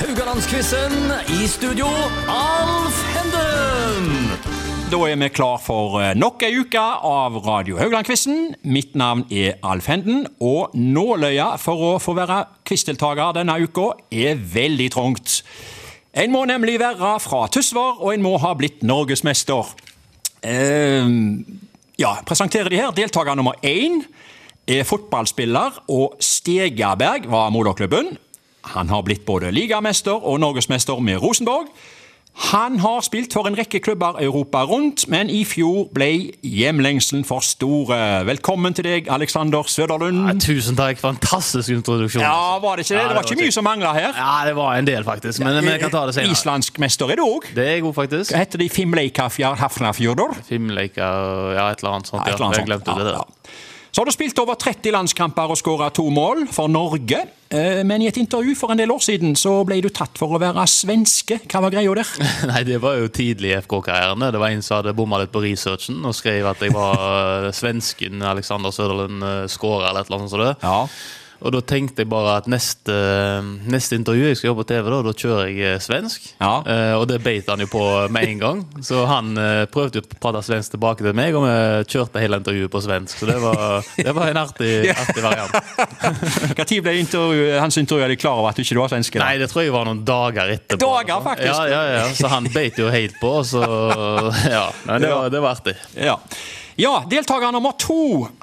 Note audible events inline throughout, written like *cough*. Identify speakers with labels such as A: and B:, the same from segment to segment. A: Rogalandsquizen. I studio, Alf Henden.
B: Da er vi klar for eh, nok ei uke av Radio Haugland-quizen. Mitt navn er Alf Henden, og nåløya for å få være quizdeltaker denne uka er veldig trangt. En må nemlig være fra Tysvær, og en må ha blitt norgesmester. Eh, ja, presenterer de her. Deltaker nummer én er fotballspiller, og Stegaberg var moderklubben. Han har blitt både ligamester og norgesmester med Rosenborg. Han har spilt for en rekke klubber Europa rundt, men i fjor ble hjemlengselen for store. Velkommen til deg, Alexander
C: Nei,
B: Søderlund.
C: tusen takk. Fantastisk introduksjon.
B: Ja, var det ikke det?
C: Ja,
B: Det var ikke mye som mangla her.
C: Ja, det var en del, faktisk. Men vi kan ta det senere.
B: Islandsk mester er du òg.
C: Det er god, faktisk.
B: Heter de Fimleikafjar Hafnafjordur?
C: Filmleika og ja, et eller annet sånt.
B: Ja, et eller annet
C: jeg glemte
B: sånt.
C: det
B: Ja,
C: der.
B: ja. Så har du spilt over 30 landskamper og skåra to mål for Norge. Eh, Men i et intervju for en del år siden så ble du tatt for å være svenske. Hva var greia der?
C: *laughs* Nei, det var jo tidlig i FK-karrieren. Det var en som hadde bomma litt på researchen og skrev at jeg var eh, svensken Alexander Søderlund eh, skåra eller et eller annet sånt. som det.
B: Ja.
C: Og da tenkte jeg bare at neste, neste intervju jeg skal gjøre på TV, da, da kjører jeg eh, svensk.
B: Ja.
C: Eh, og det beit han jo på med en gang. Så han eh, prøvde jo å prate svensk tilbake til meg, og vi kjørte hele intervjuet på svensk. Så det var, det var en artig, artig variant.
B: Når ble intervju, hans intervjuer de klar over at du ikke var svenske? da?
C: Nei, det tror jeg var noen dager etterpå.
B: Dager, faktisk.
C: Ja, ja, ja. Så han beit jo helt på, så ja. Nei, det, var, det var artig.
B: Ja. ja, deltaker nummer to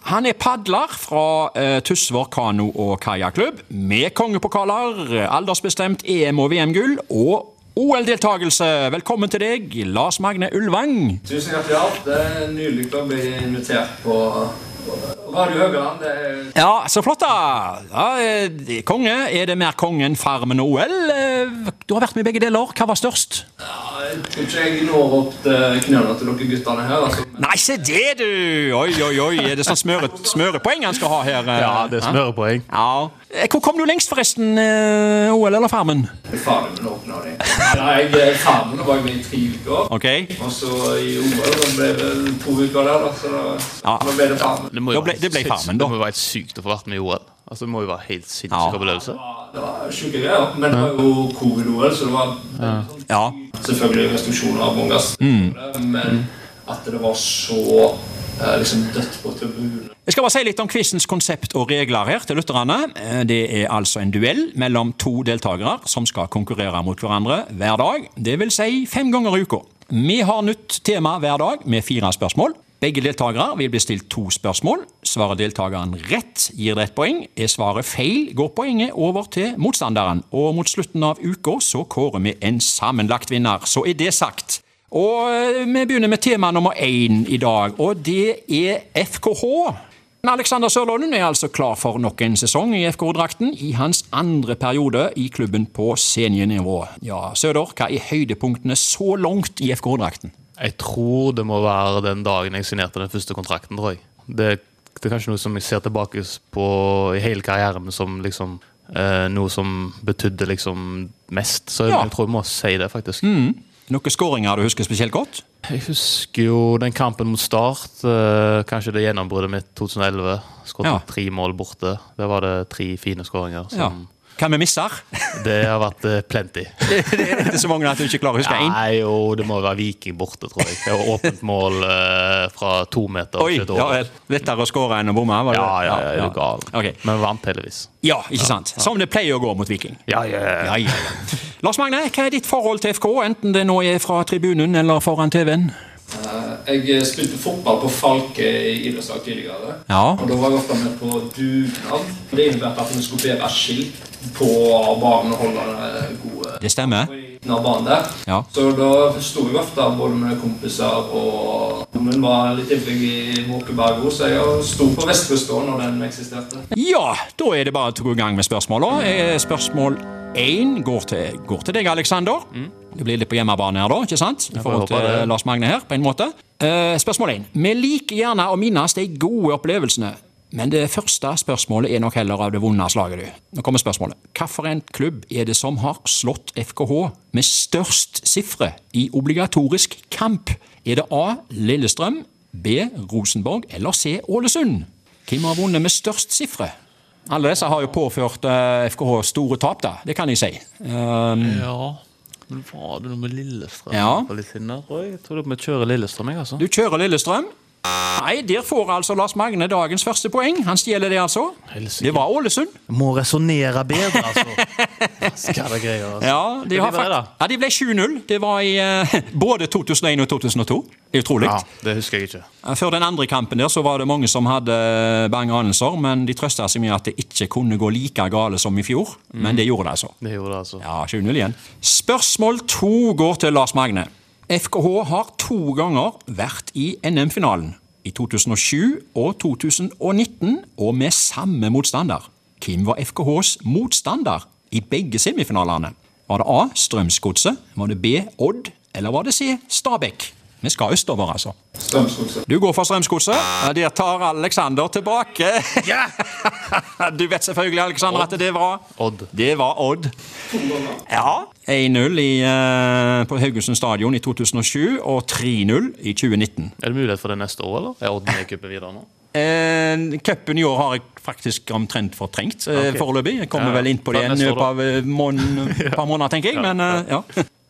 B: Han er padler fra eh, Tysvær kano- og kajakklubb. Med kongepokaler, aldersbestemt EM- og VM-gull og OL-deltakelse. Velkommen til deg, Lars Magne Ulvang.
D: Tusen hjertelig alt. Det er nydelig å bli invitert på Radio Høgland. Det er
B: Ja, så flott, da! Ja, eh, det- konge. Er det mer kongen, Farmen og OL? Eh, Du har vært med i begge deler. Hva var størst?
D: ja, Jeg tror ikke jeg når opp til knærne til dere guttene her. Altså. Men
B: Nei, se det, du! Oi, oi, oi. Er det sånn smøre- smørepoeng han skal ha her? eh?
C: Ja, det er smørepoeng.
B: Ja. Eh, Hvor kom du lengst, forresten? eh, OL eller Farmen?
D: det er faen min åpna det. Nei, jeg eh, er ferdig nå, var jeg med i tre uker.
B: Ok.
D: Og så i OL da ble det to uker der, da. Så da,
B: Ja.
D: da ble det ferdig.
C: må jo
B: Da ble-
C: være
B: det ble
C: sinnssykt-
B: farmen, da.
C: Det må jo være helt sykt å få vært med i OL. Altså, det må jo være helt sinnssyk
B: Ja.
C: opplevelse.
D: Det var sjuke greier. Men det var jo covid-OL, så det var
B: Ja.
D: selvfølgelig restriksjoner og mange ganger. Men at det var så eh, liksom dødt på tribunen
B: Jeg skal bare si litt om quizens konsept og regler her til lytterne. Eh, Det er altså en duell mellom to deltakere som skal konkurrere mot hverandre hver dag. Det vil si fem ganger i uka. Vi har nytt tema hver dag med fire spørsmål. Begge deltakere vil bli stilt to spørsmål. Svarer deltakeren rett, gir det ett poeng. Er svaret feil, går poenget over til motstanderen. Og mot slutten av uka så kårer vi en sammenlagt vinner. Så er det sagt. Og eh, vi begynner med tema nummer én i dag, og det er FKH. Men Alexander Sørlund er altså klar for nok en sesong i FK-drakten i hans andre periode i klubben på seniornivå. Ja, Søder, hva er høydepunktene så langt i FK-drakten?
C: Jeg tror det må være den dagen jeg signerte den første kontrakten, tror jeg. Det, det er kanskje noe som jeg ser tilbake på i hele karrieren som liksom eh, noe som betydde liksom mest. Så jeg,
B: Ja. Mm.
C: jeg tror jeg må si det, faktisk.
B: Noen skåringer du husker spesielt godt?
C: Jeg husker jo den kampen mot Start. eh, kanskje det gjennombruddet mitt 2011. Skåret
B: Ja.
C: tre mål borte. Der var det tre fine skåringer.
B: Ja.
C: Som
B: Hva vi misser? *laughs*
C: Det har vært eh, plenty.
B: Det er ikke så mange at du ikke klarer å huske én.
C: Nei, jo, det må være Viking borte, tror jeg. Det var åpent mål eh, fra to meter.
B: Oi,
C: til et
B: ja
C: år.
B: vel. Lettere å skåre enn å bomme? var det?
C: Ja, ja, ja, er du gal.
B: Ok.
C: Men vant heldigvis.
B: Ja, ikke sant? Som det pleier å gå mot Viking.
C: Ja, ja,
B: Ja, ja, ja. Lars Magne, hva er ditt forhold til FK, enten det nå er fra tribunen eller foran TV-en?
D: Eh, Jeg spilte fotball på Falke i idrettslag tidligere.
B: Ja.
D: Og da var jeg ofte med på dugnad. Det innebærte at vi skulle bære skilt på banen og holde den gode
B: Det stemmer.
D: når banen der.
B: Ja.
D: Så da sto jeg ofte både med kompiser og Min var litt ivrig i Måkebergo, så jeg sto på Vestkysten da når den eksisterte.
B: Ja, da er det bare å gå i gang med spørsmåla. Eh, Spørsmål én går, til- går til deg, Aleksander. Det blir litt på hjemmebane her, da, ikke sant? I
C: får
B: forhold
C: håpe
B: til
C: det.
B: eh, Lars Magne her, på en måte. Eh, Spørsmål én. Vi liker gjerne å minnes de gode opplevelsene. Men det første spørsmålet er nok heller av det vonde slaget, du. Nå kommer spørsmålet. Hvilken klubb er det som har slått FKH med størst sifre i obligatorisk kamp? Er det A. Lillestrøm, B. Rosenborg eller C. Ålesund? Hvem har vunnet med størst sifre? Alle disse har jo påført eh, FKH store tap, da. Det kan jeg si. Um,
C: Ja. Men var det noe med Lillestrøm
B: Ja.
C: for litt siden der, tror jeg? Jeg tror vi kjører Lillestrøm, jeg, altså.
B: du kjører Lillestrøm. Nei, der får altså Lars Magne dagens første poeng. Han stjeler det, altså.
C: Helsike.
B: Det var Ålesund.
C: Må resonnere bedre, altså. *laughs* Skadde greier. Altså.
B: Ja, de, har
C: blir det, da.
B: fakt ja, de ble 7-0. Det var i eh, *laughs* både 2001 og 2002. Det er Utrolig.
C: Ja, det husker jeg ikke.
B: Før den andre kampen der så var det mange som hadde bange anelser, men de trøsta seg med at det ikke kunne gå like gale som i fjor.
C: Mm.
B: Men det gjorde det, altså.
C: Det gjorde det, altså.
B: Ja, 7-0 igjen. Spørsmål to går til Lars Magne. FKH har to ganger vært i NM-finalen. I 2007 og 2019, og med samme motstander. Hvem var FKHs motstander i begge semifinalene? Var det A. Strømsgodset? Var det B. Odd? Eller var det C. Stabæk? Vi skal østover, altså.
D: Strømsgodset.
B: Du går for Strømsgodset. Ja, Der tar Alexander tilbake. *laughs* Du vet selvfølgelig, Alexander, at det var
C: Odd.
B: Det var Odd. Ja. 1-0 i, eh, på Haugesund stadion i 2007 og 3-0 i 2019.
C: Er det mulighet for det neste år, eller? Er Odd med i cupen videre nå?
B: Eh, Cupen i år har jeg faktisk omtrent fortrengt eh,
C: Ok.
B: foreløpig. Jeg kommer
C: Ja, ja.
B: vel inn på det
C: Fra
B: igjen i
C: neste år,
B: løpet av eh, mån
C: *laughs*
B: par måneder, tenker jeg. Men, eh, ja.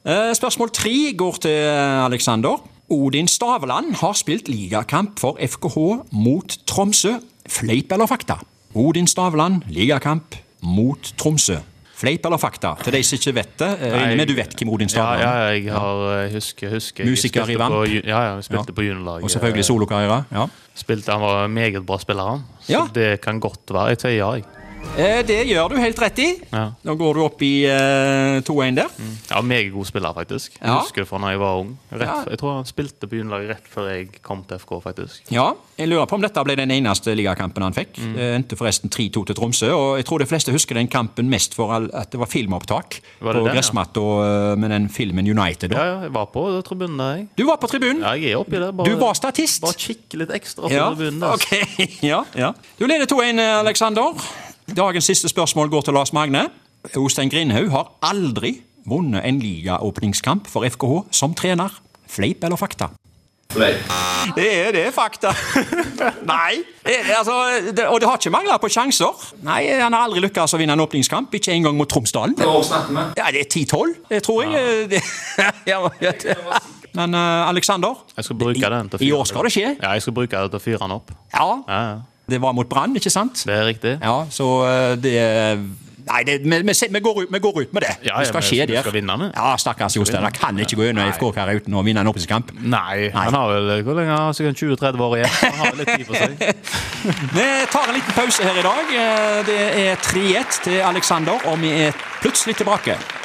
B: Eh, Spørsmål tre går til eh, Alexander. Odin Staveland har spilt ligakamp for FKH mot Tromsø. Fleip eller fakta? Odin Staveland, ligakamp mot Tromsø. Fleip eller fakta? Til de som ikke vet det, jeg regner med du vet hvem Odin
C: Ja,
B: Staveland
C: ja,
B: er?
C: jeg har, jeg husker, husker jeg
B: Musiker i
C: spilte
B: Vamp.
C: på ju- Ja, ja, jeg
B: Ja.
C: spilte på juniorlaget.
B: Og selvfølgelig solokarriere. Ja.
C: Spilte, han var en meget bra spiller, han. Så
B: Ja.
C: det kan godt være. Jeg sier ja, jeg.
B: Eh, Det gjør du helt rett i.
C: Ja.
B: Nå går du opp i eh, 2-1 der.
C: Ja, meget god spiller, faktisk. Jeg
B: Ja.
C: husker det fra da jeg var ung. Rett,
B: Ja.
C: f- Jeg tror han spilte på juniorlaget rett før jeg kom til FK, faktisk.
B: Ja, jeg lurer på om dette ble den eneste ligakampen han fikk.
C: Mm.
B: Det endte forresten 3-2 til Tromsø, og jeg tror de fleste husker den kampen mest for all- at det var filmopptak
C: Var det
B: på
C: det, ja?
B: gressmatta og, eh, med den filmen United. da.
C: Ja, ja, jeg var på tribunen der, jeg.
B: Du var på tribunen!
C: Ja, jeg er oppi der. Bare,
B: Du var statist!
C: Bare kikke litt ekstra på
B: ja.
C: tribunen. altså.
B: ok. *laughs* ja, ja. Du leder 2-1, Aleksander. Dagens siste spørsmål går til Lars Magne. Ostein Grindhaug har aldri vunnet en ligaåpningskamp for FKH som trener. Fleip eller fakta?
D: Fleip.
B: Det er det, fakta. Nei. Det- Altså, det, og det har ikke mangla på sjanser. Nei, Han har aldri lykkes å vinne en åpningskamp, ikke engang mot Tromsdalen.
D: Hva år snakker vi?
B: Ja, Det er 10-12, *laughs* det tror jeg. Ja. Men eh, Alexander,
C: Jeg skal bruke den til å
B: i
C: fyre
B: år skal det skje.
C: Ja, jeg skal bruke den til å fyre den opp.
B: Ja,
C: Ja, ja.
B: det var mot Brann, ikke sant?
C: Det er riktig.
B: Ja, så eh, det Nei, det, vi, vi, se- vi, går ut, vi går ut med det.
C: Ja,
B: det
C: ja,
B: skal
C: men
B: skje
C: vi
B: der.
C: skal vinne med.
B: Ja, Stakkars Jostein. Han kan ikke gå gjennom FK-karriere uten å vinne en åpningskamp.
C: Nei, han har vel hvor lenge? har han? Sikkert 20-30 år igjen. Han har vel litt tid på seg.
B: Vi tar en liten pause her i dag. Eh, Det er 3-1 til Alexander, og vi er plutselig tilbake.